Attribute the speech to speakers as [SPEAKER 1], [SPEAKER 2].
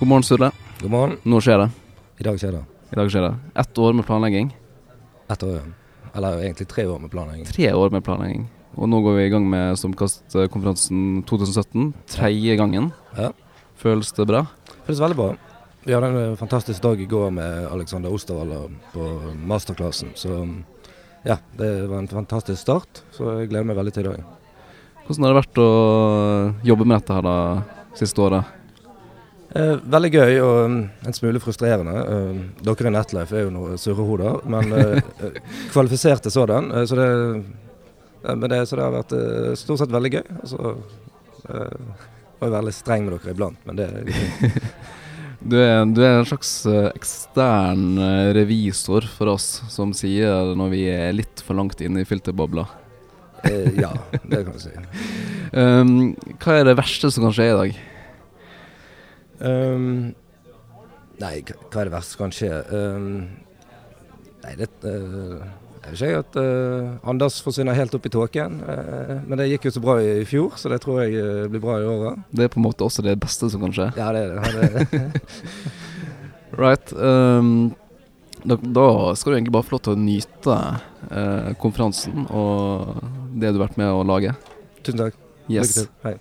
[SPEAKER 1] God morgen, Sturle.
[SPEAKER 2] God morgen.
[SPEAKER 1] Nå skjer det.
[SPEAKER 2] I dag skjer det.
[SPEAKER 1] I dag skjer det. Ett år med planlegging.
[SPEAKER 2] Ett år, ja. Eller egentlig tre år med planlegging.
[SPEAKER 1] Tre år med planlegging. Og nå går vi i gang med Stormkast-konferansen 2017. Tredje gangen.
[SPEAKER 2] Ja.
[SPEAKER 1] Føles det bra?
[SPEAKER 2] Føles veldig bra. Vi hadde en eh, fantastisk dag i går med Alexander Osterwalder på masterklassen. Så ja, det var en fantastisk start. Så jeg gleder meg veldig til i dag.
[SPEAKER 1] Hvordan har det vært å jobbe med dette her da, siste året?
[SPEAKER 2] Eh, veldig gøy og mm, en smule frustrerende. Eh, dere i Netlife er jo noen surrehoder, men eh, eh, kvalifiserte sådan. Eh, så, det, eh, men det, så det har vært eh, stort sett veldig gøy. Og så eh, var jeg veldig streng med dere iblant, men det
[SPEAKER 1] Du er, du er en slags eh, ekstern eh, revisor for oss, som sier når vi er litt for langt inne i filterbobla.
[SPEAKER 2] eh, Ja, det kan du si.
[SPEAKER 1] Um, hva er det verste som kan skje i dag?
[SPEAKER 2] Ehm, nei, hva hva er det verste som kan skje? Ehm, nei, det eh, Jeg vet ikke jeg, at eh, Anders forsvinner helt opp i tåken. eh, men det gikk jo så bra i, i fjor, så det tror jeg eh, blir bra i år òg.
[SPEAKER 1] Det er på en måte også det beste som kan skje.
[SPEAKER 2] Ja, det er det. Han er-
[SPEAKER 1] Right. ehm, da, da skal du egentlig bare få lov til å nyte eh, konferansen og det du har vært med å lage.
[SPEAKER 2] Tusen takk.
[SPEAKER 1] Yes.
[SPEAKER 2] Lykke til. Hei.